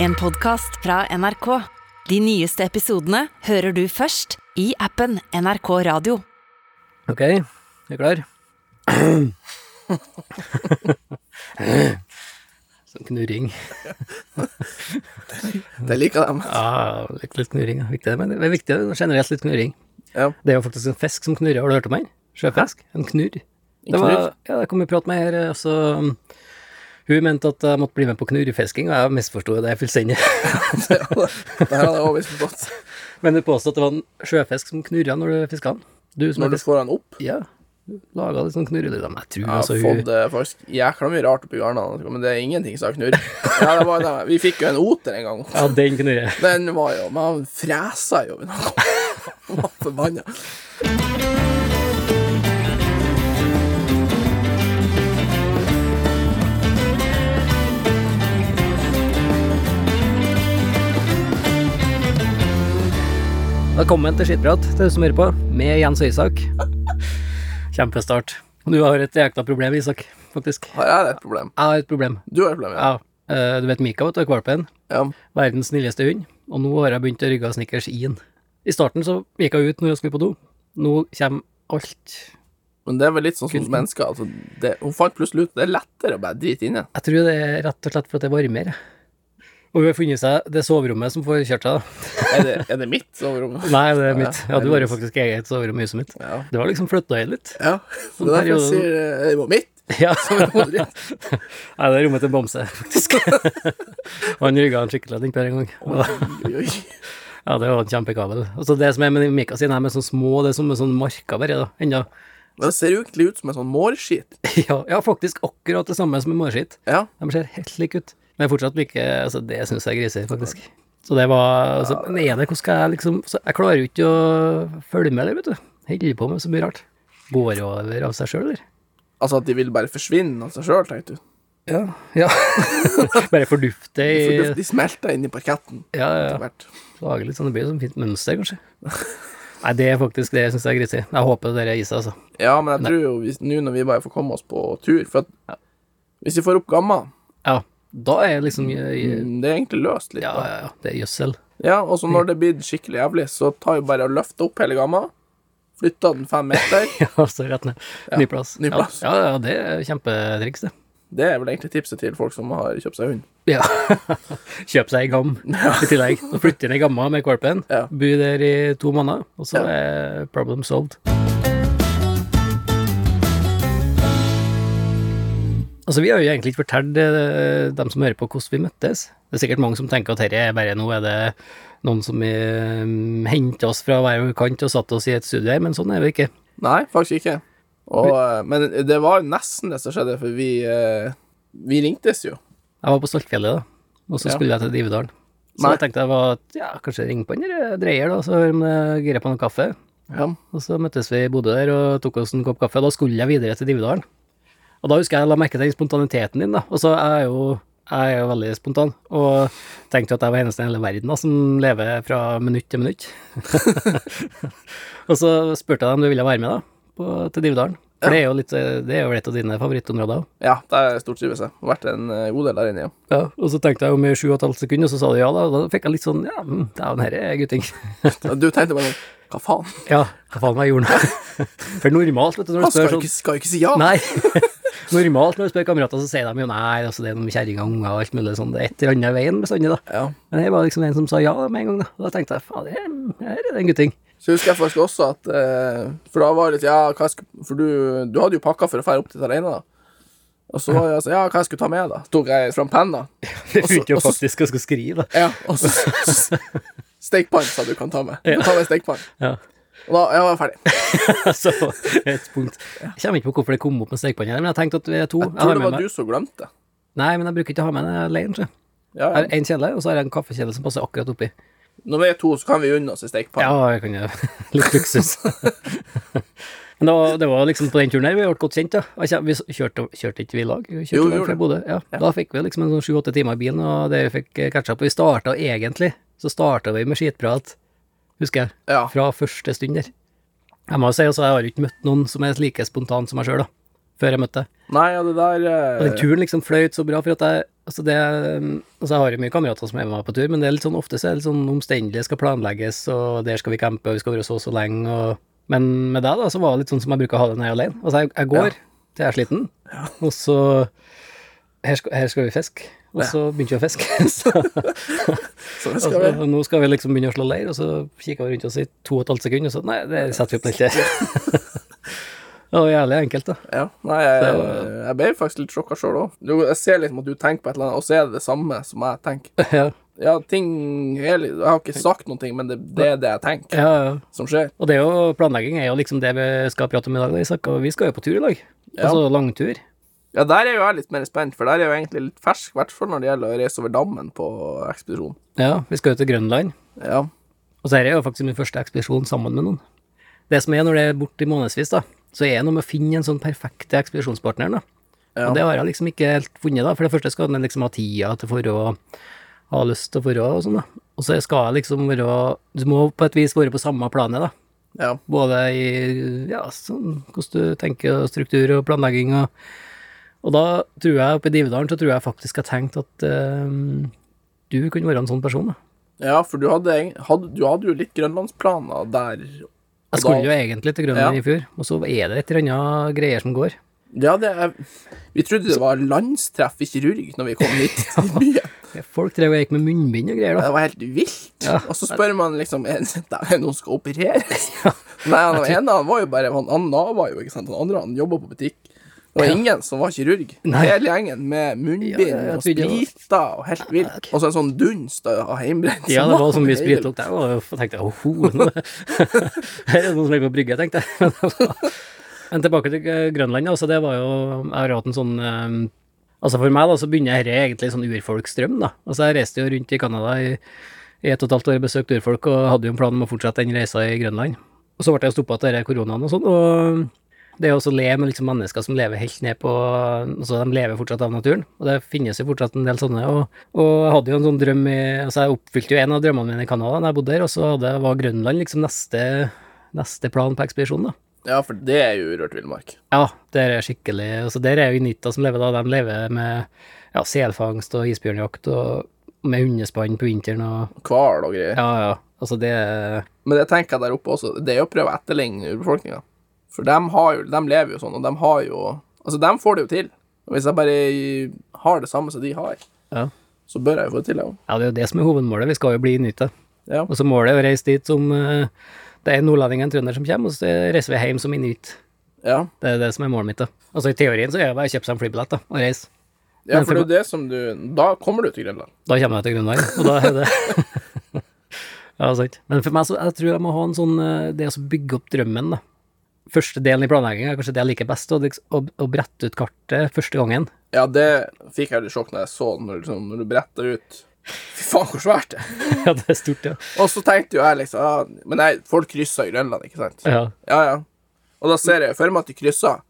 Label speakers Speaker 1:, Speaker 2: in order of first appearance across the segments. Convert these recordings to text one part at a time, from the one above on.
Speaker 1: En podcast fra NRK. De nyeste episodene hører du først i appen NRK Radio.
Speaker 2: Ok, jeg er klar. Sånn knurring.
Speaker 3: Det liker dem.
Speaker 2: Ja, Ah, litt, litt knurring. ja. Viktig, men det er viktig generelt litt knurring.
Speaker 3: Ja.
Speaker 2: Det er jo faktisk en fisk som knurrer. Har du hørt om den? Sjøfisk? En knurr. Det var, ja, jeg kom i prat med her, altså Hun mente at jeg måtte bli med på knurrefisking, og jeg misforsto det fullstendig.
Speaker 3: Det her hadde jeg overvist godt.
Speaker 2: Men du påstod at det var en sjøfisk som knurra når du fiska den? Du som
Speaker 3: Når
Speaker 2: har
Speaker 3: du får den opp
Speaker 2: fisk- Ja. Laga litt sånn knurrelyd. Men jeg tror
Speaker 3: Jeg har
Speaker 2: altså hun
Speaker 3: fått eh, faktisk jækla mye rart oppi garnene, men det er ingenting som har knurr. Ja, det var det. Vi fikk jo en oter en gang.
Speaker 2: Ja, den knurrer.
Speaker 3: Den var jo Men han fresa jo. men Han han var forbanna.
Speaker 2: Velkommen til Skittprat, til du som hører på, med Jens og Isak. Kjempestart. Du har et jækla problem, Isak, faktisk. Jeg
Speaker 3: Har jeg et problem?
Speaker 2: har et problem.
Speaker 3: Du har et problem, ja.
Speaker 2: Ja, eh, du vet Mika, vet du, valpen.
Speaker 3: ja.
Speaker 2: Verdens snilleste hund. Og nå har jeg begynt å rygge snickers i den. I starten så gikk hun ut når hun skulle på do. Nå kommer alt.
Speaker 3: Men det er vel litt sånn som hos mennesker. Altså, det, hun fant plutselig ut det er lettere å bare drite inne.
Speaker 2: Jeg tror det er rett og slett for at det varmer. Og hun har funnet seg det soverommet som får kjørt seg. da.
Speaker 3: Er det, er det mitt soverom?
Speaker 2: Nei, det er mitt. Ja,
Speaker 3: Ja,
Speaker 2: du har jo faktisk eget soverom i huset mitt.
Speaker 3: Ja.
Speaker 2: Du har liksom flytta inn litt.
Speaker 3: ja. Så
Speaker 2: Sånn
Speaker 3: det er derfor jeg
Speaker 2: Perioden.
Speaker 3: sier eh, det var mitt.
Speaker 2: Ja.
Speaker 3: soverom.
Speaker 2: Nei, det er rommet til Bamse, faktisk. han rygga han skikkelig innpå her en gang.
Speaker 3: Oi, oi.
Speaker 2: Ja, det var en kjempekabel. Og så det som er med Mika sin, er med sånne små, det er som med sånne marker bare, da, ennå.
Speaker 3: Men det ser jo egentlig ut som en sånn mårskit.
Speaker 2: Ja, ja, faktisk akkurat det samme som i mårskitt.
Speaker 3: Ja.
Speaker 2: De ser helt like ut. Men jeg er fortsatt like altså, Det syns jeg er griser, faktisk. Så det var altså, Men er det hvordan skal jeg liksom så Jeg klarer jo ikke å følge med det, vet du. Holder på med så mye rart. Går over av seg sjøl, eller?
Speaker 3: Altså at de vil bare forsvinne av seg sjøl, tenkte du.
Speaker 2: Ja. ja. bare fordufte i
Speaker 3: For du- de smelter inn i parketten.
Speaker 2: Ja, Eh, ja.
Speaker 3: etter
Speaker 2: ja.
Speaker 3: hvert.
Speaker 2: Lage litt sånn, det blir jo sånn fint mønster, kanskje. Nei, det er faktisk det jeg syns er grisig. Jeg håper det der er is, altså.
Speaker 3: Ja, men jeg tror jo hvis- nå når vi bare får komme oss på tur For at hvis vi får opp gamma,
Speaker 2: Ja, da er jeg liksom i- i-
Speaker 3: mm, det er egentlig løst litt.
Speaker 2: Ja,
Speaker 3: da.
Speaker 2: ja, ja, det er gjødsel.
Speaker 3: Ja, og så når det blir skikkelig jævlig, så tar vi bare og løfter opp hele gamma, flytter den fem meter.
Speaker 2: Ja, så rett ned. Ny plass.
Speaker 3: ny plass.
Speaker 2: Ja, ja, ja, det er kjempetriks, det.
Speaker 3: Det er vel egentlig tipset til folk som har kjøpt seg hund.
Speaker 2: Ja. Kjøp seg ei gam i tillegg. Og flytte inn ei gamma med valpen.
Speaker 3: Ja.
Speaker 2: Bo der i to måneder, og så
Speaker 3: Ja.
Speaker 2: er problem solved. Altså, Vi har jo egentlig ikke fortalt eh, dem som hører på, hvordan vi møttes. Det er sikkert mange som tenker at dette er bare nå er det noen som eh, henter oss fra hver kant og satte oss i et studio her, men sånn er det ikke.
Speaker 3: Nei, faktisk ikke. Og, eh, men det var nesten det som skjedde, for vi, eh, vi ringtes jo.
Speaker 2: Jeg var på Stoltfjellet, da, og så
Speaker 3: Ja.
Speaker 2: skulle jeg til Divedalen. Så
Speaker 3: Nei.
Speaker 2: jeg tenkte jeg var, at, ja, kanskje ringe på en der dreier, da, så hører om det girer på noen kaffe.
Speaker 3: Ja.
Speaker 2: Og så møttes vi i Bodø der og tok oss en kopp kaffe. Da skulle jeg videre til Dividalen. Og da husker jeg jeg la merke til den spontaniteten din, da. Og så er jeg jo, jeg er jo veldig spontan. Og tenkte jo at jeg var eneste i hele verden da, som lever fra minutt til minutt. og så spurte jeg deg om du ville være med da, på, til Dividalen. For det er jo litt, det er jo et av dine favorittområder. også.
Speaker 3: ja, der stortrives jeg. Vært en eh, god del der inne, ja.
Speaker 2: Ja, og så tenkte jeg om i sju og et halvt sekund, og så sa du ja da, og da fikk jeg litt sånn, ja, mm, dæven, herre er gutting.
Speaker 3: Og Du tenkte bare Hva faen?
Speaker 2: ja, hva faen var jeg gjorde nå? For normalt, vet du, når
Speaker 3: Han
Speaker 2: du spør
Speaker 3: skal jo
Speaker 2: sånn,
Speaker 3: ikke, skal jo ikke si ja.
Speaker 2: Nei. Normalt når du spør kamerater, så sier de jo nei, altså det er noen kjerringer og unger og alt mulig sånn. Det er et eller annet i veien bestandig, da.
Speaker 3: Ja.
Speaker 2: Men her var liksom en som sa ja med en gang, da. Og da tenkte jeg faen, det er- her er det en gutting.
Speaker 3: Så husker jeg faktisk også at eh, For da var det litt Ja, hva jeg skulle For du, du hadde jo pakka for å dra opp dit alene, da. Og så var jeg sånn Ja, hva jeg skulle ta med, da? Tok jeg fram penna?
Speaker 2: Det
Speaker 3: Også-
Speaker 2: begynte jo
Speaker 3: også-
Speaker 2: faktisk å skulle skrive, da.
Speaker 3: Ja. Og så Stekepann sa du kan ta med. Du kan ta med stekepann.
Speaker 2: Ja.
Speaker 3: Og da jeg var jeg ferdig.
Speaker 2: Så et punkt. Jeg kommer ikke på hvorfor det kom opp med stekepanne, her, men jeg tenkte at vi er to. Jeg
Speaker 3: Tror
Speaker 2: har
Speaker 3: det
Speaker 2: med
Speaker 3: var
Speaker 2: meg.
Speaker 3: du som glemte det.
Speaker 2: Nei, men jeg bruker ikke å ha med den alene, tror jeg.
Speaker 3: Ja,
Speaker 2: Jeg
Speaker 3: ja.
Speaker 2: har en kjele, og så har jeg en kaffekjele som passer akkurat oppi.
Speaker 3: Når vi er to, så kan vi unne oss en stekepann.
Speaker 2: Ja, jeg kan jo litt luksus. Men det var, det var liksom på den turen her vi ble godt kjent, da. Og kjem- Vi s- kjørte, kjørte ikke vi i lag? Vi Kjørte
Speaker 3: Jo, vi
Speaker 2: i lag
Speaker 3: gjorde
Speaker 2: fra
Speaker 3: det.
Speaker 2: Bodø. Ja. Da fikk vi liksom en sånn sju-åtte timer i bilen, og det vi fikk catcha på. Vi starta egentlig, så starta vi med skitprat, husker jeg,
Speaker 3: Ja.
Speaker 2: fra første stund der. Jeg må jo si også, jeg har jo ikke møtt noen som er like spontan som meg sjøl, da, før jeg møtte deg.
Speaker 3: Nei, ja, det der
Speaker 2: Og den
Speaker 3: eh,
Speaker 2: turen liksom fløyt så bra, for at jeg Altså det, altså jeg har jo mye kamerater som er med meg på tur, men det er litt sånn, ofte så er det litt sånn omstendelig, skal planlegges, og der skal vi campe, og vi skal være så og så lenge. Og, men med deg da, så var det litt sånn som jeg bruker å ha det når jeg er alene. Altså jeg, jeg går til jeg er sliten, og så her skal, her skal vi fiske, og så begynte vi å fiske. Så,
Speaker 3: Så det skal
Speaker 2: altså,
Speaker 3: vi.
Speaker 2: og nå skal vi liksom begynne å slå leir, og så kikker vi rundt oss i to og et halvt sekund, og så nei, det setter vi opp litt der. Det var jævlig enkelt, da.
Speaker 3: Ja. Nei, jeg,
Speaker 2: Så-
Speaker 3: jeg ble faktisk litt sjokka sjøl òg. Jeg ser liksom at du tenker på et eller annet, og så er det det samme som jeg tenker.
Speaker 2: Ja,
Speaker 3: Ja, ting er litt Jeg har ikke sagt noen ting, men det, det er det jeg tenker,
Speaker 2: ja, ja.
Speaker 3: som skjer.
Speaker 2: Og det er jo, planlegging er jo liksom det vi skal prate om i dag, da, Isak. Og vi skal jo på tur i dag. Altså langtur.
Speaker 3: Ja, der er jo jeg litt mer spent, for der er jo egentlig litt fersk, i hvert fall når det gjelder å reise over dammen på ekspedisjon.
Speaker 2: Ja, vi skal jo til Grønland.
Speaker 3: Ja.
Speaker 2: Og så her er jo faktisk min første ekspedisjon sammen med noen. Det som er når det er borte i månedsvis, da, så er det noe med å finne en sånn perfekte ekspedisjonspartner, da.
Speaker 3: Ja.
Speaker 2: Og det har jeg liksom ikke helt funnet, da. For det første skal den liksom ha tida til for å ha lyst til å forå og sånn, da. Og så skal jeg liksom være Du må på et vis være på samme planet, da.
Speaker 3: ja.
Speaker 2: Både i ja, sånn, hvordan du tenker, og struktur og planlegging. Og, og da tror jeg oppe i Divedalen så tror jeg faktisk jeg tenkte at eh, du kunne være en sånn person. da.
Speaker 3: Ja, for du hadde, egen- hadde, du hadde jo litt grønlandsplaner der.
Speaker 2: Jeg skulle jo egentlig til Grønland
Speaker 3: Ja.
Speaker 2: i fjor, og så er det et eller annet greier som går.
Speaker 3: Ja, det er Vi trodde det var landstreff i kirurg når vi kom hit til byen.
Speaker 2: Folk drev og gikk med munnbind og greier, da.
Speaker 3: Det var helt vilt. Og så spør man liksom Er det noen som skal opereres? Nei, han ene han var jo bare Han, han nava jo, ikke sant. Han andre han jobba på butikk. Det var ingen som var kirurg.
Speaker 2: Nei.
Speaker 3: Hele gjengen med munnbind
Speaker 2: Ja, jeg
Speaker 3: og
Speaker 2: trodde det var-
Speaker 3: spriter og helt vilt. Og så en sånn dunst av heimbrent.
Speaker 2: Ja, det var så mye
Speaker 3: Helt-
Speaker 2: spritlukt der, og jeg tenkte åh, ho, nå- Her er det noen som ligger på brygga, tenkte jeg. altså, Men tilbake til eh, Grønland, altså, det var jo Jeg har hatt en sånn eh, Altså for meg, da, så begynner dette egentlig sånn urfolksdrøm, da. Altså jeg reiste jo rundt i Canada i, i et og et halvt år, besøkte urfolk, og hadde jo en plan om å fortsette den reisa i Grønland. Og så ble jeg stoppa av denne koronaen og sånn, og det er jo også å le med liksom mennesker som lever helt ned på Altså, de lever fortsatt av naturen, og det finnes jo fortsatt en del sånne. Og, og jeg hadde jo en sånn drøm i Altså, jeg oppfylte jo en av drømmene mine i Canada da jeg bodde der, og så hadde, var Grønland liksom neste, neste plan på ekspedisjonen, da.
Speaker 3: Ja, for det er jo urørt villmark.
Speaker 2: Ja, der er skikkelig altså Der er jo Inita som lever, da. De lever med ja, selfangst og isbjørnjakt og med hundespann på vinteren og
Speaker 3: Hval og greier.
Speaker 2: Ja, ja. Altså, det er
Speaker 3: Men det tenker jeg der oppe også, det er jo å prøve å etterligne urbefolkninga. For de, har jo, de lever jo sånn, og de har jo Altså, de får det jo til. Og hvis jeg bare har det samme som de har,
Speaker 2: ja.
Speaker 3: så bør jeg jo få det til, jeg òg.
Speaker 2: ja, det er jo det som er hovedmålet. Vi skal jo bli Inita.
Speaker 3: Ja.
Speaker 2: Og så målet er å reise dit som eh, Det er en nordlending og en trønder som kommer, og så reiser vi hjem som inuitt.
Speaker 3: ja.
Speaker 2: Det er det som er målet mitt. da. Altså I teorien så er det bare å kjøpe seg en flybillett da, og reise.
Speaker 3: ja, for det er jo det som du Da kommer du til Grønland.
Speaker 2: Da kommer jeg til Grønland, og da er det Ja, sant. Men for meg så jeg tror jeg må ha en sånn eh, Det å bygge opp drømmen, da. Første delen i planlegginga er kanskje det jeg liker best, å, liksom- å, å brette ut kartet første gangen.
Speaker 3: Ja, det fikk jeg litt sjokk når jeg så den, når, liksom, når du bretter ut Fy faen, hvor svært det er!
Speaker 2: ja, det er stort, ja.
Speaker 3: Og så tenkte jo jeg liksom ja, Men nei, folk krysser Grønland, ikke sant?
Speaker 2: ja.
Speaker 3: Ja, ja. Og da ser jeg for meg at du krysser.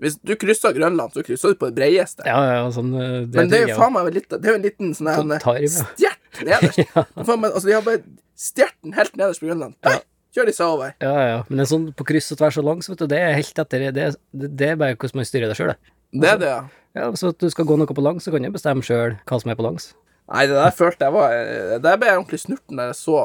Speaker 3: Hvis du krysser Grønland, så krysser du på det breieste.
Speaker 2: Ja, ja, sånn eh,
Speaker 3: Men det er jo
Speaker 2: tror jeg
Speaker 3: faen meg litt, Det er jo en liten sånn her,
Speaker 2: Sånn
Speaker 3: en
Speaker 2: tarm, ja.
Speaker 3: stjert nederst. faen, meg, altså, de har bare stjerten helt nederst på Grønland. Nei, Kjør disse over.
Speaker 2: Ja, ja. Men en sånn på kryss og tvers og langs, vet du, det er helt etter Det, det, det er bare hvordan man styrer det sjøl, det.
Speaker 3: Det er det, ja.
Speaker 2: Ja, så at du skal gå noe på langs, så kan du bestemme sjøl hva som er på langs.
Speaker 3: Nei, det der følte jeg var eh, Der ble jeg ordentlig snurten da jeg så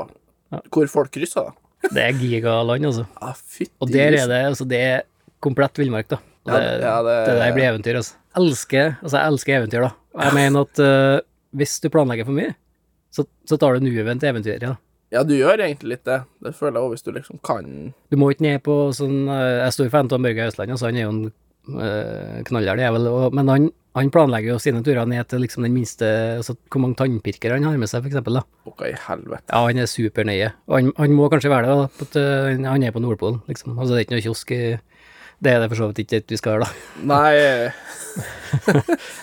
Speaker 3: hvor folk kryssa, da.
Speaker 2: Det er gigaland, altså.
Speaker 3: Ah, fytti
Speaker 2: Og der er
Speaker 3: grisen.
Speaker 2: det altså, det er komplett villmark, da. Det,
Speaker 3: Ja, ja,
Speaker 2: det,
Speaker 3: det-
Speaker 2: der blir eventyr, altså. Elsker, altså. Jeg elsker eventyr, da. Og Jeg mener at eh, hvis du planlegger for mye, så, så tar du nuet til eventyret, da.
Speaker 3: Ja, du gjør egentlig litt det. Det føler jeg òg, hvis du liksom kan
Speaker 2: Du må ikke ned på sånn eh, Jeg er stor fan av Børge Østland, altså. Han er jo en eh, knallhard jævel, og- men han, han planlegger jo sine turer ned til liksom den minste altså, Hvor mange tannpirkere han har med seg, for eksempel, da.
Speaker 3: Hva i helvete.
Speaker 2: Ja, han er supernøye. Og han, han må kanskje være det, da. på at, øh, han er på Nordpolen, liksom. Altså, det er ikke noe kiosk i Det er det for så vidt ikke at vi skal være, da.
Speaker 3: Nei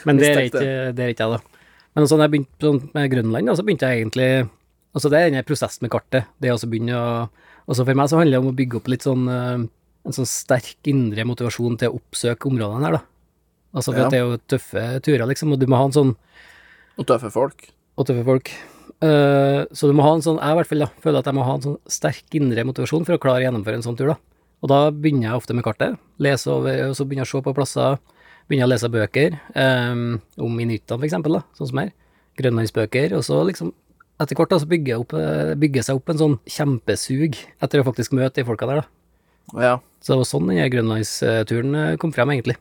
Speaker 2: Men det er
Speaker 3: Mistenkte.
Speaker 2: ikke, det er ikke jeg, da. Men sånn jeg begynte sånn, med Grønland, da, så begynte jeg egentlig Altså, det er denne prosessen med kartet. Det å så begynne å Altså, for meg så handler det om å bygge opp litt sånn øh, En sånn sterk indre motivasjon til å oppsøke områdene her, da. Altså, for
Speaker 3: Ja.
Speaker 2: at det er jo tøffe turer, liksom, og du må ha en sånn
Speaker 3: Og tøffe folk.
Speaker 2: og tøffe folk. Eh, så du må ha en sånn, jeg i hvert fall da, føler at jeg må ha en sånn sterk indre motivasjon for å klare å gjennomføre en sånn tur. da. Og da begynner jeg ofte med kartet, leser over, og så begynner jeg å se på plasser, Begynner å lese bøker eh, om inuittene, for eksempel, da, sånn som her. Grønlandsbøker. Og så liksom etter hvert da, så bygger, jeg opp, eh, bygger seg opp en sånn kjempesug etter å faktisk møte de folka der, da.
Speaker 3: Ja.
Speaker 2: Så det var sånn den her grønlandsturen eh, kom frem, egentlig.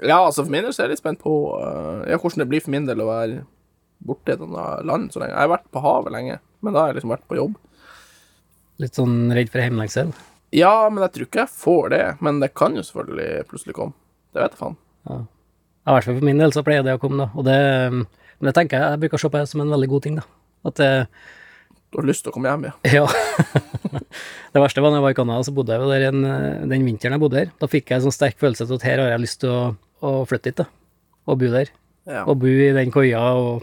Speaker 3: ja, altså for min del så er jeg litt spent på eh, ja, hvordan det blir for min del å være borte i et annet land så lenge. Jeg har vært på havet lenge, men da har jeg liksom vært på jobb.
Speaker 2: Litt sånn redd for hjemlengsel.
Speaker 3: Ja, men jeg tror ikke jeg får det. Men det kan jo selvfølgelig plutselig komme. Det vet jeg faen.
Speaker 2: Ja, I hvert fall for min del så pleier det å komme, da. Og det, men det tenker jeg jeg bruker å se på det som en veldig god ting, da. At det,
Speaker 3: Du har lyst til å komme hjem, ja.
Speaker 2: ja. det verste var når jeg var i Canada, så bodde jeg jo der en, eh, den vinteren jeg bodde der. Da fikk jeg en sånn sterk følelse av at her har jeg lyst til å, å flytte dit, da. Og bo der.
Speaker 3: ja.
Speaker 2: Og bo i den koia og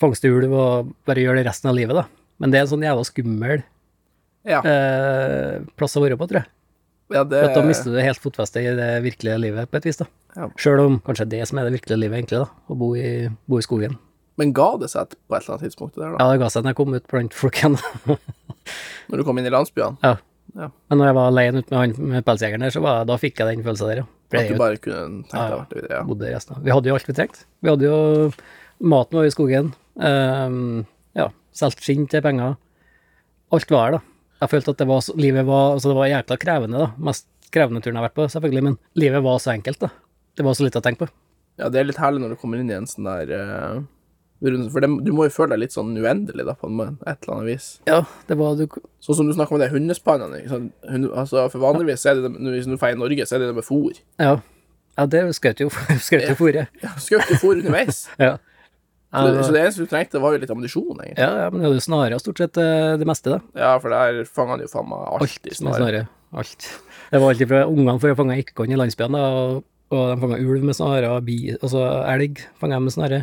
Speaker 2: fangste ulv og bare gjøre det resten av livet, da. Men det er en sånn jævla skummel
Speaker 3: Ja,
Speaker 2: eh, plass å være på, tror jeg.
Speaker 3: ja det
Speaker 2: For at da mister du helt fotfestet i det virkelige livet, på et vis, da.
Speaker 3: Ja.
Speaker 2: Sjøl om kanskje det som er det virkelige livet, egentlig, da. Å bo i, bo i skogen.
Speaker 3: Men ga det seg på et eller annet tidspunkt det der, da?
Speaker 2: Ja, det ga seg når jeg kom ut blant folk igjen.
Speaker 3: Når du kom inn i landsbyene?
Speaker 2: ja.
Speaker 3: Ja.
Speaker 2: Men når jeg var alene ute med, han- med pelsjegeren der, så var, da fikk jeg den følelsen der, ja. Ble
Speaker 3: At
Speaker 2: jeg
Speaker 3: du
Speaker 2: jo
Speaker 3: bare kunne tenkt deg å vært videre? Ja.
Speaker 2: bodde i resten av. Vi hadde jo alt vi trengte. Vi hadde jo maten var i skogen. Um, ja, solgt skinn til penger. Alt var her, da. Jeg følte at det var, så- livet var altså det var jækla krevende, da. Mest krevende turen jeg har vært på, selvfølgelig, men livet var så enkelt, da. Det var så lite å tenke på.
Speaker 3: ja, det er litt herlig når du kommer inn i en sånn der eh, runde, For det, du må jo føle deg litt sånn uendelig, da, på en, måte, et eller annet vis.
Speaker 2: Ja, det var du
Speaker 3: Sånn som du snakker om de hundespannene. Ikke sant? Hund, altså, for vanligvis så er det de, hvis du drar i Norge, så er det det med fôr.
Speaker 2: Ja. Ja, det skjøt jo, skjøt jo fôret.
Speaker 3: Ja, du skal jo ikke fôr underveis.
Speaker 2: Ja.
Speaker 3: Så, det- så det eneste du trengte, var jo litt ammunisjon, egentlig.
Speaker 2: Ja, ja, men det er jo snarere stort sett eh, det meste, da.
Speaker 3: Ja, for der fanga han jo faen meg
Speaker 2: Alt
Speaker 3: alltid
Speaker 2: med
Speaker 3: snarere.
Speaker 2: snare. Alt. Det var alt fra ungene for å fange ekorn i landsbyen, da, og, og de fanga ulv med snare, og bi, altså elg fanga de med snare.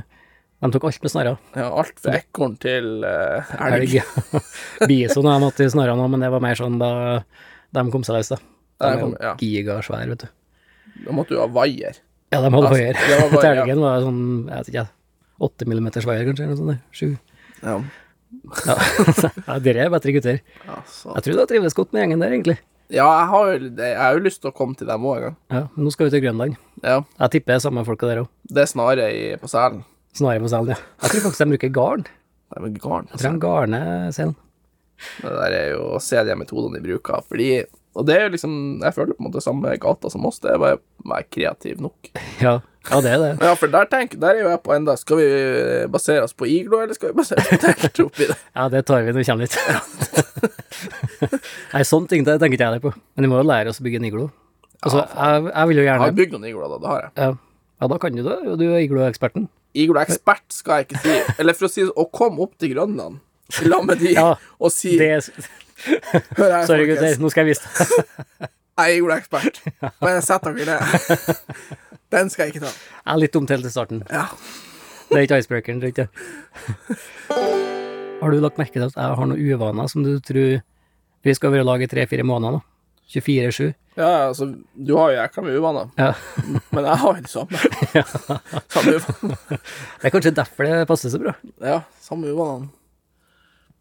Speaker 2: De tok alt med snare.
Speaker 3: Ja, alt fra ekorn til eh, elg.
Speaker 2: Elg. Bison har de hatt i snarene òg, men det var mer sånn da de kom seg løs, da. De
Speaker 3: Ja,
Speaker 2: er jo
Speaker 3: kom- ja.
Speaker 2: gigasvære, vet du.
Speaker 3: Da måtte du ha vaier.
Speaker 2: Ja, de hadde
Speaker 3: Ja,
Speaker 2: vaier.
Speaker 3: det var vaier,
Speaker 2: Til
Speaker 3: ja.
Speaker 2: elgen var sånn, jeg vet ikke, åtte millimeters vaier, kanskje, eller noe sånt. der. Sju.
Speaker 3: Ja.
Speaker 2: Ja, ja dere er bedre gutter.
Speaker 3: Ja, så.
Speaker 2: Jeg tror du har trivdes godt med gjengen der, egentlig.
Speaker 3: ja, jeg har jo det- jeg har jo lyst til å komme til dem òg en gang.
Speaker 2: Ja, men nå skal vi til Grønland.
Speaker 3: Ja.
Speaker 2: Jeg tipper det er samme folka der òg.
Speaker 3: Det er snarere i, på selen.
Speaker 2: Snarere på selen, ja. Jeg tror faktisk de bruker garn.
Speaker 3: Det er med garn.
Speaker 2: Jeg tror de garner selen.
Speaker 3: Det der er jo å se de metodene de bruker. Fordi, og det er jo liksom Jeg føler på en måte samme gata som oss. Det er bare å være kreativ nok.
Speaker 2: Ja. ja, det er det.
Speaker 3: Ja, for der tenk, der er jo jeg på enda Skal vi eh, basere oss på iglo, eller skal vi basere oss på telt oppi det?
Speaker 2: Ja, det tar vi når vi kommer dit. Nei, sånne ting det tenker ikke jeg det på. Men vi må jo lære oss å bygge en iglo. Altså, jeg, jeg vil jo
Speaker 3: Jeg har
Speaker 2: gjerne
Speaker 3: bygd noen igloer, da. Det har jeg.
Speaker 2: ja. ja, da kan du det. Du er igloeksperten.
Speaker 3: Igloekspert skal jeg ikke si. Eller for å si det sånn, å komme opp til Grønland sammen med de
Speaker 2: Ja,
Speaker 3: og si
Speaker 2: Det er-
Speaker 3: Hør her,
Speaker 2: Sorry, gutter.
Speaker 3: folkens.
Speaker 2: Nå skal jeg vise deg.
Speaker 3: Jeg er igloekspert. Bare sett dere ned. Den skal jeg ikke ta.
Speaker 2: Jeg er litt omtalt i starten.
Speaker 3: Ja.
Speaker 2: Det er ikke icebreakeren, tror jeg ikke. Har du lagt merke til at jeg har noen uvaner som du tror vi skal være i lag i tre-fire måneder nå? 24-7.
Speaker 3: Ja, altså, du har jo jækla mye uvaner,
Speaker 2: Ja.
Speaker 3: men jeg har jo det samme. Samme uvaner.
Speaker 2: Det er kanskje derfor det passer så bra.
Speaker 3: Ja, samme uvanene.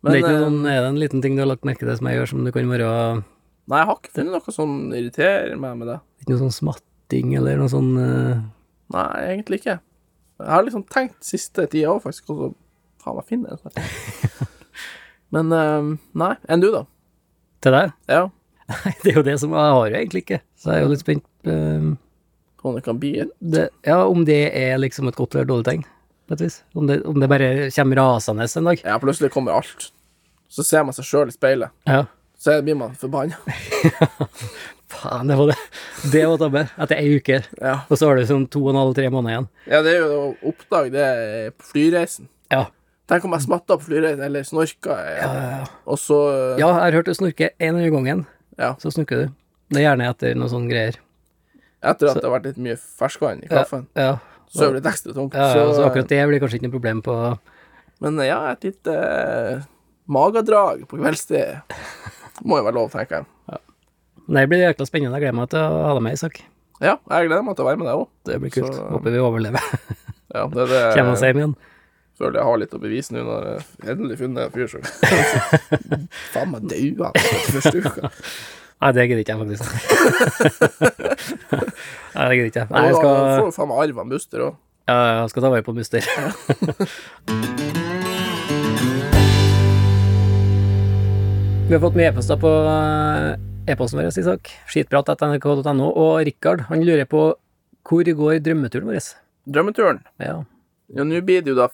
Speaker 2: Men, det er, ikke
Speaker 3: eh,
Speaker 2: noe sånn, er det en liten ting du har lagt merke til som jeg gjør, som det kan være
Speaker 3: Nei, jeg har ikke funnet noe som irriterer meg med det.
Speaker 2: ikke noe sånn smatting eller noe sånn eh,
Speaker 3: Nei, egentlig ikke. Jeg har liksom tenkt siste tida òg, faktisk, og så faen meg finner jeg det snart. Men eh, nei. Enn du, da?
Speaker 2: til deg?
Speaker 3: Ja.
Speaker 2: Nei, det er jo det som jeg har jo egentlig ikke, så jeg er jo litt spent. eh,
Speaker 3: Om det kan bli et
Speaker 2: det, ja, om det er liksom et godt eller dårlig tegn, på et vis. Om det, om det bare kommer rasende en dag.
Speaker 3: Ja, plutselig kommer alt. Så ser man seg sjøl i speilet.
Speaker 2: Ja.
Speaker 3: Så blir man forbanna.
Speaker 2: Faen, det var det. Det var tabbe. Etter ei uke,
Speaker 3: Ja.
Speaker 2: og så har du sånn to og en halv, tre måneder igjen.
Speaker 3: ja, det er jo å oppdage det eh, på flyreisen.
Speaker 2: Ja.
Speaker 3: Tenk om jeg smatta på flyreisen, eller snorka, eh, og så eh,
Speaker 2: ja, jeg har hørt du snorke en gang gangen,
Speaker 3: Ja.
Speaker 2: så snorker du. Det er gjerne etter noe sånn greier.
Speaker 3: Etter at det har vært litt mye ferskvann i
Speaker 2: Ja,
Speaker 3: kaffen,
Speaker 2: ja.
Speaker 3: så er det litt ekstra tungt.
Speaker 2: Ja, så,
Speaker 3: Så, eh,
Speaker 2: akkurat det blir kanskje ikke noe problem på
Speaker 3: Men ja, et lite eh, magedrag på kveldstid må jo være lov, tenker jeg.
Speaker 2: Men det blir jækla spennende. Jeg gleder meg til å ha deg med, Isak.
Speaker 3: Ja, jeg gleder meg til å være med deg òg.
Speaker 2: Det blir kult.
Speaker 3: Så-
Speaker 2: Håper vi overlever.
Speaker 3: Ja, det er det
Speaker 2: Kommer oss hjem igjen.
Speaker 3: føler jeg har litt å bevise nå når jeg endelig funnet en fyr som Faen meg daua den første uka.
Speaker 2: Nei, det gidder ikke jeg faktisk. Nei, det gidder ikke jeg. Nei,
Speaker 3: Og
Speaker 2: jeg
Speaker 3: da
Speaker 2: skal,
Speaker 3: får du faen meg arv av Buster òg.
Speaker 2: ja, jeg skal ta vare på Buster. Vi har fått mye e-poster på eh, e-posten vår, Isak. Skitprat.nrk.no. Og Rikard, han lurer på hvor går drømmeturen vår?
Speaker 3: Drømmeturen.
Speaker 2: Ja.
Speaker 3: Ja, nå blir det jo da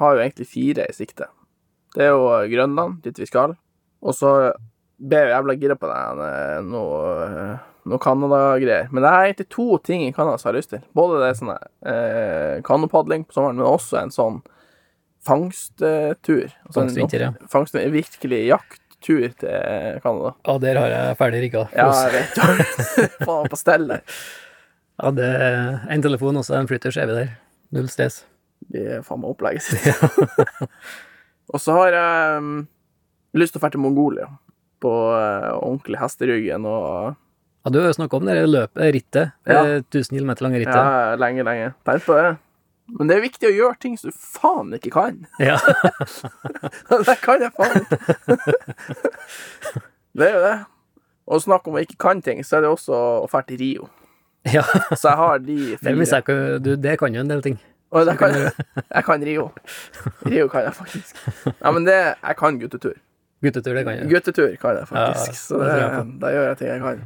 Speaker 3: Har jo egentlig fire i sikte. Det er jo eh, Grønland, dit vi skal. Og så ble jeg jævla gira på den eh, noe eh, noe Canada-greier. Men det er egentlig to ting i Canada som jeg har lyst til. Både det sånne eh, kanopadling på sommeren, men også en sånn fangsttur. Altså en
Speaker 2: Fangstvinter, ja.
Speaker 3: Fangst, en virkelig jakttur til eh, Canada.
Speaker 2: Og der har jeg ferdig rigga.
Speaker 3: Ja, jeg vet jo. Faen, på stellet.
Speaker 2: Ja, det er en telefon også, en flytter, så er vi der. Null stress.
Speaker 3: Det er faen meg opplegget sitt. og så har jeg um, lyst til å dra til Mongolia på eh, ordentlig hesteryggen og
Speaker 2: Ja, du har jo snakka om det der løpet, rittet.
Speaker 3: Ja.
Speaker 2: det 1000 km lange
Speaker 3: ja,
Speaker 2: rittet.
Speaker 3: lenge, lenge. Tenk på det. Men det er viktig å gjøre ting som du faen ikke kan.
Speaker 2: Ja.
Speaker 3: det kan jeg faen ikke. det er jo det. Og snakk om å ikke kan ting, så er det også å dra til Rio.
Speaker 2: ja.
Speaker 3: Så jeg har de
Speaker 2: Det
Speaker 3: fire.
Speaker 2: mister jeg ikke Du, det kan jo en del ting.
Speaker 3: Og jeg kan, jeg kan Rio. Rio kan jeg faktisk. Ja, men det Jeg kan guttetur.
Speaker 2: Guttetur, det kan jo.
Speaker 3: Guttetur kan jeg faktisk,
Speaker 2: Ja,
Speaker 3: så
Speaker 2: det
Speaker 3: det,
Speaker 2: tror jeg
Speaker 3: da gjør jeg ting jeg kan.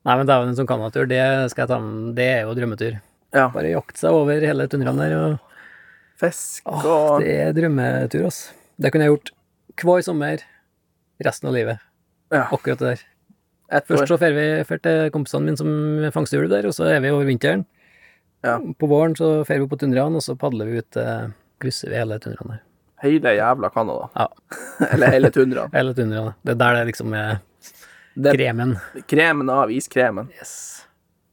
Speaker 2: Nei, men dæven, en sånn Canada-tur, det skal jeg ta med. Det er jo drømmetur.
Speaker 3: Ja.
Speaker 2: Bare jakte seg over hele tundraen der, og
Speaker 3: Fisk
Speaker 2: Åh,
Speaker 3: og
Speaker 2: det er drømmetur, ass. Det kunne jeg gjort hver sommer resten av livet.
Speaker 3: ja,
Speaker 2: Akkurat det der.
Speaker 3: et
Speaker 2: Først
Speaker 3: år.
Speaker 2: så drar vi fer til kompisene mine som fangster ulv der, og så er vi over vinteren.
Speaker 3: Ja.
Speaker 2: På våren så drar vi på tundraen, og så padler vi ut eh, Krysser vi hele tundraen der.
Speaker 3: Hele jævla Canada.
Speaker 2: Ja.
Speaker 3: Eller hele tundraen.
Speaker 2: Hele tundraen. Det er der det liksom er
Speaker 3: Det er
Speaker 2: kremen.
Speaker 3: kremen av iskremen.
Speaker 2: Yes.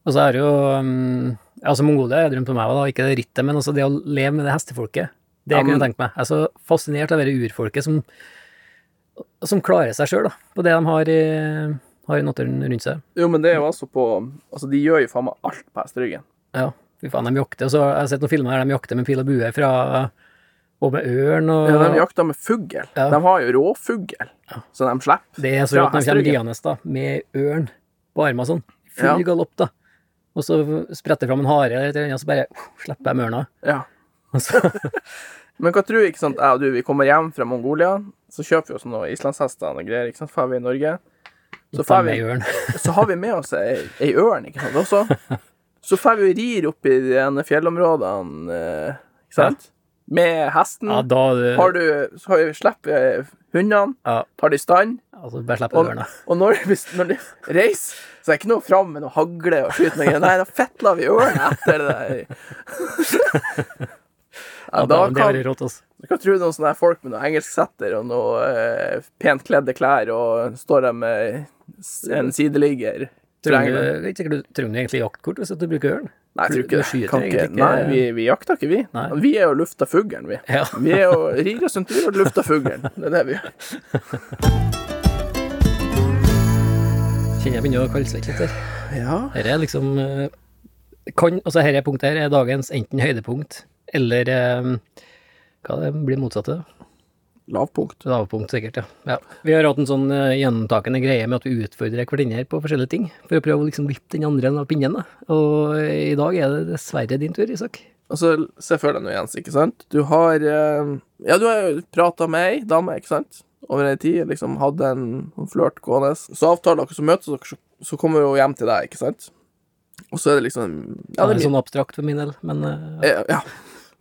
Speaker 2: Og så er det jo um, Altså, Mongolia har jeg drømt om, jeg òg, da. Ikke det rittet, men altså det å leve med det hestefolket. Det
Speaker 3: Ja,
Speaker 2: kunne jeg
Speaker 3: men-
Speaker 2: tenkt meg. Jeg er så fascinert av det urfolket som, som klarer seg sjøl, da. På det de har i, har i naturen rundt seg.
Speaker 3: Jo, men det er jo altså på Altså, de gjør jo faen meg alt på hesteryggen.
Speaker 2: Ja, fy faen, de jakter. Og så har jeg sett noen filmer der de jakter med pil og bue fra Og med ørn og
Speaker 3: Ja, de jakter med fugl.
Speaker 2: Ja.
Speaker 3: De har jo råfugl, så de slipper.
Speaker 2: Det er så
Speaker 3: fra
Speaker 2: rått når de kommer
Speaker 3: hesteryggen.
Speaker 2: riende, da, med ørn på armene sånn. Full
Speaker 3: Ja.
Speaker 2: galopp, da. Og så spretter fram en hare eller et eller annet, så bare uh, slipper de ørna.
Speaker 3: Ja.
Speaker 2: Og så
Speaker 3: Men hva tror du, ikke sant, jeg og du, vi kommer hjem fra Mongolia, så kjøper vi oss noen islandshester og greier, ikke sant, drar vi i Norge. Så
Speaker 2: tar
Speaker 3: drar
Speaker 2: de
Speaker 3: vi
Speaker 2: med ørn.
Speaker 3: så har vi med oss ei, ei ørn, ikke sant, også. Så får vi og rir opp i de ene fjellområdene, eh, ikke sant, med hesten.
Speaker 2: Ja, da
Speaker 3: Har du, så har vi, slipper vi hundene,
Speaker 2: Ja,
Speaker 3: tar de i stand,
Speaker 2: altså bare slipp
Speaker 3: og,
Speaker 2: ørene.
Speaker 3: og når, vi, når de reiser, så er det ikke noe fram med noe hagle og skyte noe. greier. Nei, da fetler vi ørna etter det der. Ja,
Speaker 2: Ja,
Speaker 3: da
Speaker 2: da, det
Speaker 3: kan,
Speaker 2: er rått, altså.
Speaker 3: du kan tro noen sånne her folk med noen engelsksetter og noe eh, pent kledde klær, og står der med s- en sideligger.
Speaker 2: Trenger du, det er ikke sikkert du trenger du egentlig jaktkort hvis at du bruker ørn?
Speaker 3: Nei,
Speaker 2: Du-
Speaker 3: jeg tror
Speaker 2: du
Speaker 3: ikke det.
Speaker 2: skyter
Speaker 3: Kan ikke.
Speaker 2: egentlig ikke-
Speaker 3: Nei, vi, vi jakter ikke, vi.
Speaker 2: Nei.
Speaker 3: Vi er jo lufta fuglen, vi.
Speaker 2: Ja.
Speaker 3: Vi er jo rir oss en tur og lufta fuglen. Det er det vi gjør.
Speaker 2: Kjenner jeg begynner å kaldsvette litt her.
Speaker 3: Ja.
Speaker 2: Dette er liksom eh, kan, altså Dette punktet her er dagens enten høydepunkt eller eh, hva det blir motsatte.
Speaker 3: Lavpunkt.
Speaker 2: Lavpunkt, sikkert. Ja. ja. Vi har hatt en sånn eh, gjentakende greie med at vi utfordrer hverandre på forskjellige ting, for å prøve å liksom vippe den andre enden av pinnen. Da. Og eh, i dag er det dessverre din tur, Isak.
Speaker 3: Altså, se for deg nå, Jens, ikke sant? Du har eh, Ja, du har jo prata med ei dame, ikke sant? Over ei tid. Liksom hadde en en flørt gående. Så avtaler dere, så møtes dere, så, så kommer hun hjem til deg, ikke sant? Og så er det liksom Ja,
Speaker 2: det
Speaker 3: det
Speaker 2: er
Speaker 3: er
Speaker 2: sånn abstrakt for min del, men eh,
Speaker 3: Eh, Ja.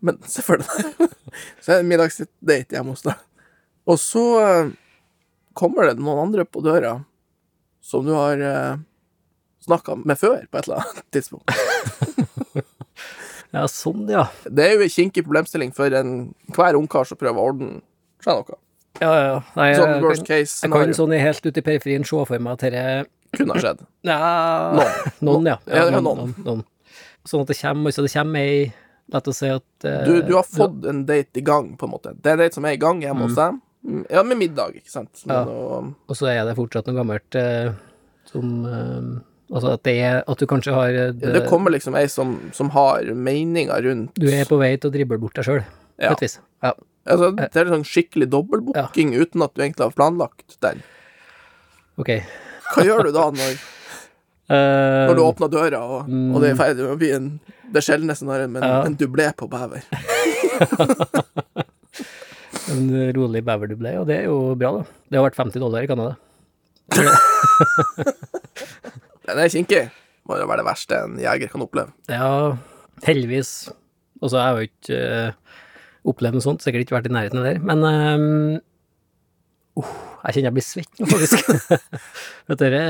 Speaker 3: Men se for deg det. Så er det middagsdate hjemme hos deg. Og så eh, kommer det noen andre på døra som du har eh, snakka med før på et eller annet tidspunkt.
Speaker 2: ja, sånn, ja.
Speaker 3: Det er jo en kinkig problemstilling for en, hver ungkar som prøver å ordne seg noe.
Speaker 2: Ja, ja, ja. Nei, Eh, jeg,
Speaker 3: Sånn worst
Speaker 2: kan,
Speaker 3: case
Speaker 2: jeg kan
Speaker 3: scenario
Speaker 2: sånn i helt ute i periferien se for meg at dette
Speaker 3: kunne ha skjedd.
Speaker 2: Noen. Noen, ja.
Speaker 3: Ja, ja, noen.
Speaker 2: Sånn at det kommer, altså det kommer ei La oss si at eh,
Speaker 3: Du, du har fått en date i gang, på en måte. Det er en date som er i gang hjemme hos deg. Mm, Ja, med middag, ikke sant. Men,
Speaker 2: Ja.
Speaker 3: og,
Speaker 2: Og så er det fortsatt noe gammelt eh, som eh, Altså at det er At du kanskje har eh,
Speaker 3: det kommer liksom ei som, som har meninger rundt
Speaker 2: Du er på vei til å drible bort deg sjøl,
Speaker 3: Ja.
Speaker 2: på et vis. Ja.
Speaker 3: Altså,
Speaker 2: Eh.
Speaker 3: det er sånn skikkelig dobbeltbooking uten at du egentlig har planlagt den.
Speaker 2: Ok.
Speaker 3: Hva gjør du da når,
Speaker 2: Eh,
Speaker 3: når du åpner døra, og, og det er i ferd med å bli en det sjeldne scenarioet, sånn men
Speaker 2: Ja.
Speaker 3: en dublé på bever?
Speaker 2: Eh, en rolig beverdublé, og det er jo bra, da. Det har vært 50 dollar i Canada.
Speaker 3: Den er kinkig. Må jo være det verste en jeger kan oppleve.
Speaker 2: Ja, heldigvis. Og så har jeg jo ikke eh, opplevd noe sånt, sikkert ikke vært i nærheten av det. Men ehm, uh, jeg kjenner jeg blir svett nå, faktisk. Vet dere,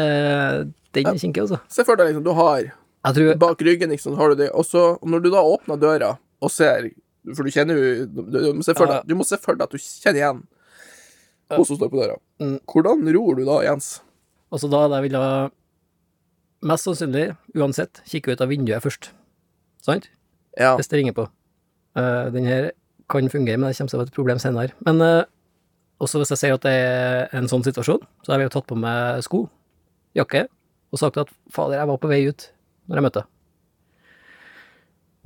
Speaker 2: eh, den er kinkig, altså.
Speaker 3: Se for deg liksom, du har
Speaker 2: Jeg tror
Speaker 3: bak ryggen, liksom, har du det, og så og når du da åpner døra og ser For du kjenner jo du, du, må se for deg- du må se for deg at du kjenner igjen hun som står på døra.
Speaker 2: Mm.
Speaker 3: Hvordan ror du da, Jens?
Speaker 2: Altså da hadde jeg ville mest sannsynlig, uansett, kikke ut av vinduet først. Sant?
Speaker 3: Ja.
Speaker 2: Hvis det ringer på. Eh, den her kan fungere, men det kommer til å være et problem senere. Men eh, også hvis jeg ser at det er en sånn situasjon, så har jeg jo tatt på meg sko, jakke, og sagt at fader, jeg var på vei ut når jeg møtte deg.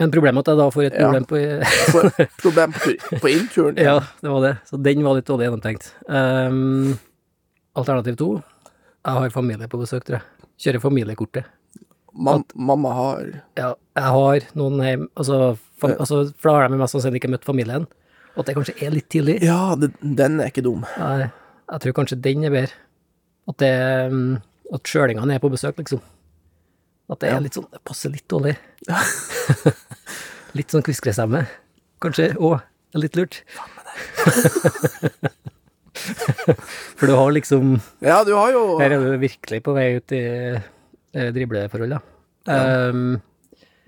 Speaker 2: Men problemet er at jeg da får et
Speaker 3: Ja.
Speaker 2: problem på
Speaker 3: For problem på, tur- på innturen.
Speaker 2: Ja, det var det. Så den var litt dårlig gjennomtenkt. Ehm, alternativ to. Jeg har familie på besøk, tror jeg. Kjører familiekortet.
Speaker 3: Mam, mamma har
Speaker 2: Ja, jeg har noen hjem, altså, fam, altså for da har de mest sannsynlig ikke møtt familien. Og at det kanskje er litt tidlig.
Speaker 3: Ja, det, den er ikke dum.
Speaker 2: Jeg, jeg tror kanskje den er bedre. At det mm, At sjølingene er på besøk, liksom. At det er litt sånn Det passer litt dårlig. litt sånn kviskrestemme. Kanskje òg. Litt lurt. For du har liksom
Speaker 3: Ja, du har jo
Speaker 2: Her er du virkelig på vei ut i eh, dribleforhold, da. Ehm,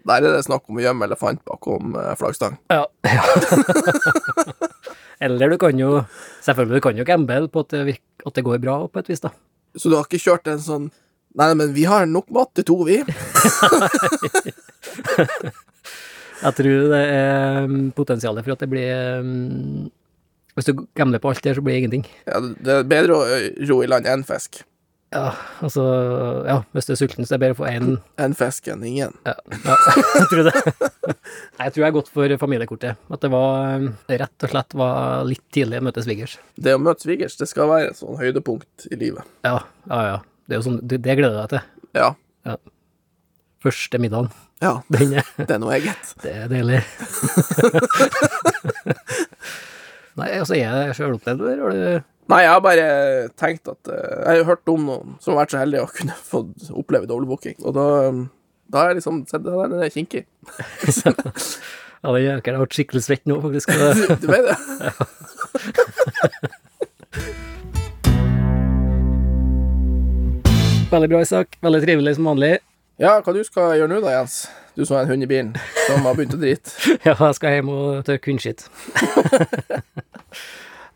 Speaker 3: Der er det snakk om å gjemme elefant bakom eh, flaggstang.
Speaker 2: ja. Eller du kan jo Selvfølgelig, du kan jo gamble på at det, virk- at det går bra, på et vis, da.
Speaker 3: Så du har ikke kjørt en sånn Nei, nei, men vi har nok mat til to, vi.
Speaker 2: Jeg tror det er mm, potensialet for at det blir mm, Hvis du gambler på alt det, her, så blir det ingenting.
Speaker 3: Ja, det er bedre å ro i land én fisk
Speaker 2: Ja, altså Ja, hvis du er sulten, så er det bedre å få én
Speaker 3: enn fisk enn ingen.
Speaker 2: ja, ja, jeg tror det. Nei, jeg tror jeg er godt for familiekortet. At det var mm, rett og slett var litt tidlig å møte svigers.
Speaker 3: Det å møte svigers, det skal være et sånn høydepunkt i livet.
Speaker 2: Ja, ja, ja. Det, er jo sånn, det, det gleder jeg deg til.
Speaker 3: Ja.
Speaker 2: Første middagen.
Speaker 3: Ja,
Speaker 2: Den er,
Speaker 3: det er noe eget.
Speaker 2: det er deilig. Nei, altså, jeg er sjølopplevd, eller har du
Speaker 3: Nei, jeg har bare tenkt at eh, Jeg har jo hørt om noen som har vært så heldige å kunne få oppleve dobbeltbooking, og da um, da har jeg liksom sett det der, den er kinkig.
Speaker 2: Ja, den jøkeren har vært skikkelig svett nå, faktisk. Og det-
Speaker 3: Du vet det?
Speaker 2: Veldig bra, Isak. Veldig trivelig som vanlig.
Speaker 3: Ja, hva du skal gjøre nå da, Jens? Du som er en hund i bilen som har begynt å drite.
Speaker 2: Ja, jeg skal hjem og tørke hundskitt.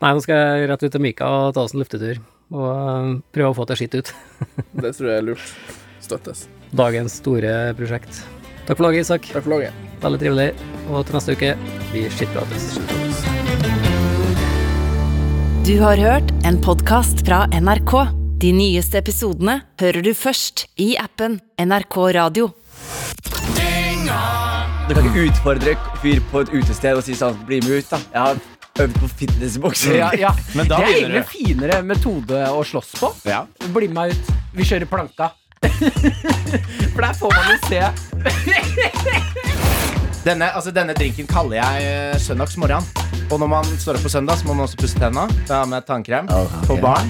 Speaker 2: Nei, nå skal jeg rett ut til Mika og ta oss en luftetur. Og eh, prøve å få til skitt ut.
Speaker 3: Det tror jeg er lurt. Støttes.
Speaker 2: Dagens store prosjekt. Takk for laget, Isak.
Speaker 3: Takk for laget.
Speaker 2: Veldig trivelig. Og til neste uke, vi skittprates.
Speaker 1: Du har hørt en podkast fra NRK. De nyeste episodene hører du først i appen NRK Radio.
Speaker 4: Du kan ikke utfordre en fyr på et utested og si sånn Bli med ut, da. Jeg har øvd på fitnessbokser.
Speaker 5: Ja, ja.
Speaker 6: Men da
Speaker 5: det er egentlig
Speaker 6: begynner
Speaker 5: en finere metode å slåss på.
Speaker 6: Ja.
Speaker 5: Bli med meg ut. Vi kjører planka. For der får man jo se.
Speaker 6: Denne, altså, denne drinken kaller jeg eh, søndagsmorgen. Og når man står opp på søndag, så må man også pusse tenna. Da har jeg med tannkrem på barn.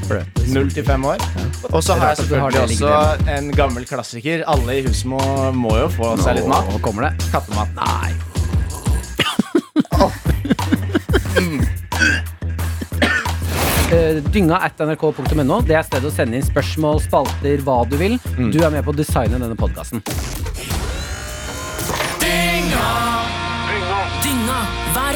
Speaker 6: Null til fem år. Og så har jeg selvfølgelig også en gammel klassiker. Alle i huset må, må jo få seg litt mat.
Speaker 5: Nå kommer det.
Speaker 6: Kattemat. Nei.
Speaker 5: Eh, dynga at nrk.no. Det er stedet å sende inn spørsmål, spalter, hva du vil.
Speaker 6: Mm.
Speaker 5: Du er med på å designe denne podkasten.
Speaker 7: Dynga hver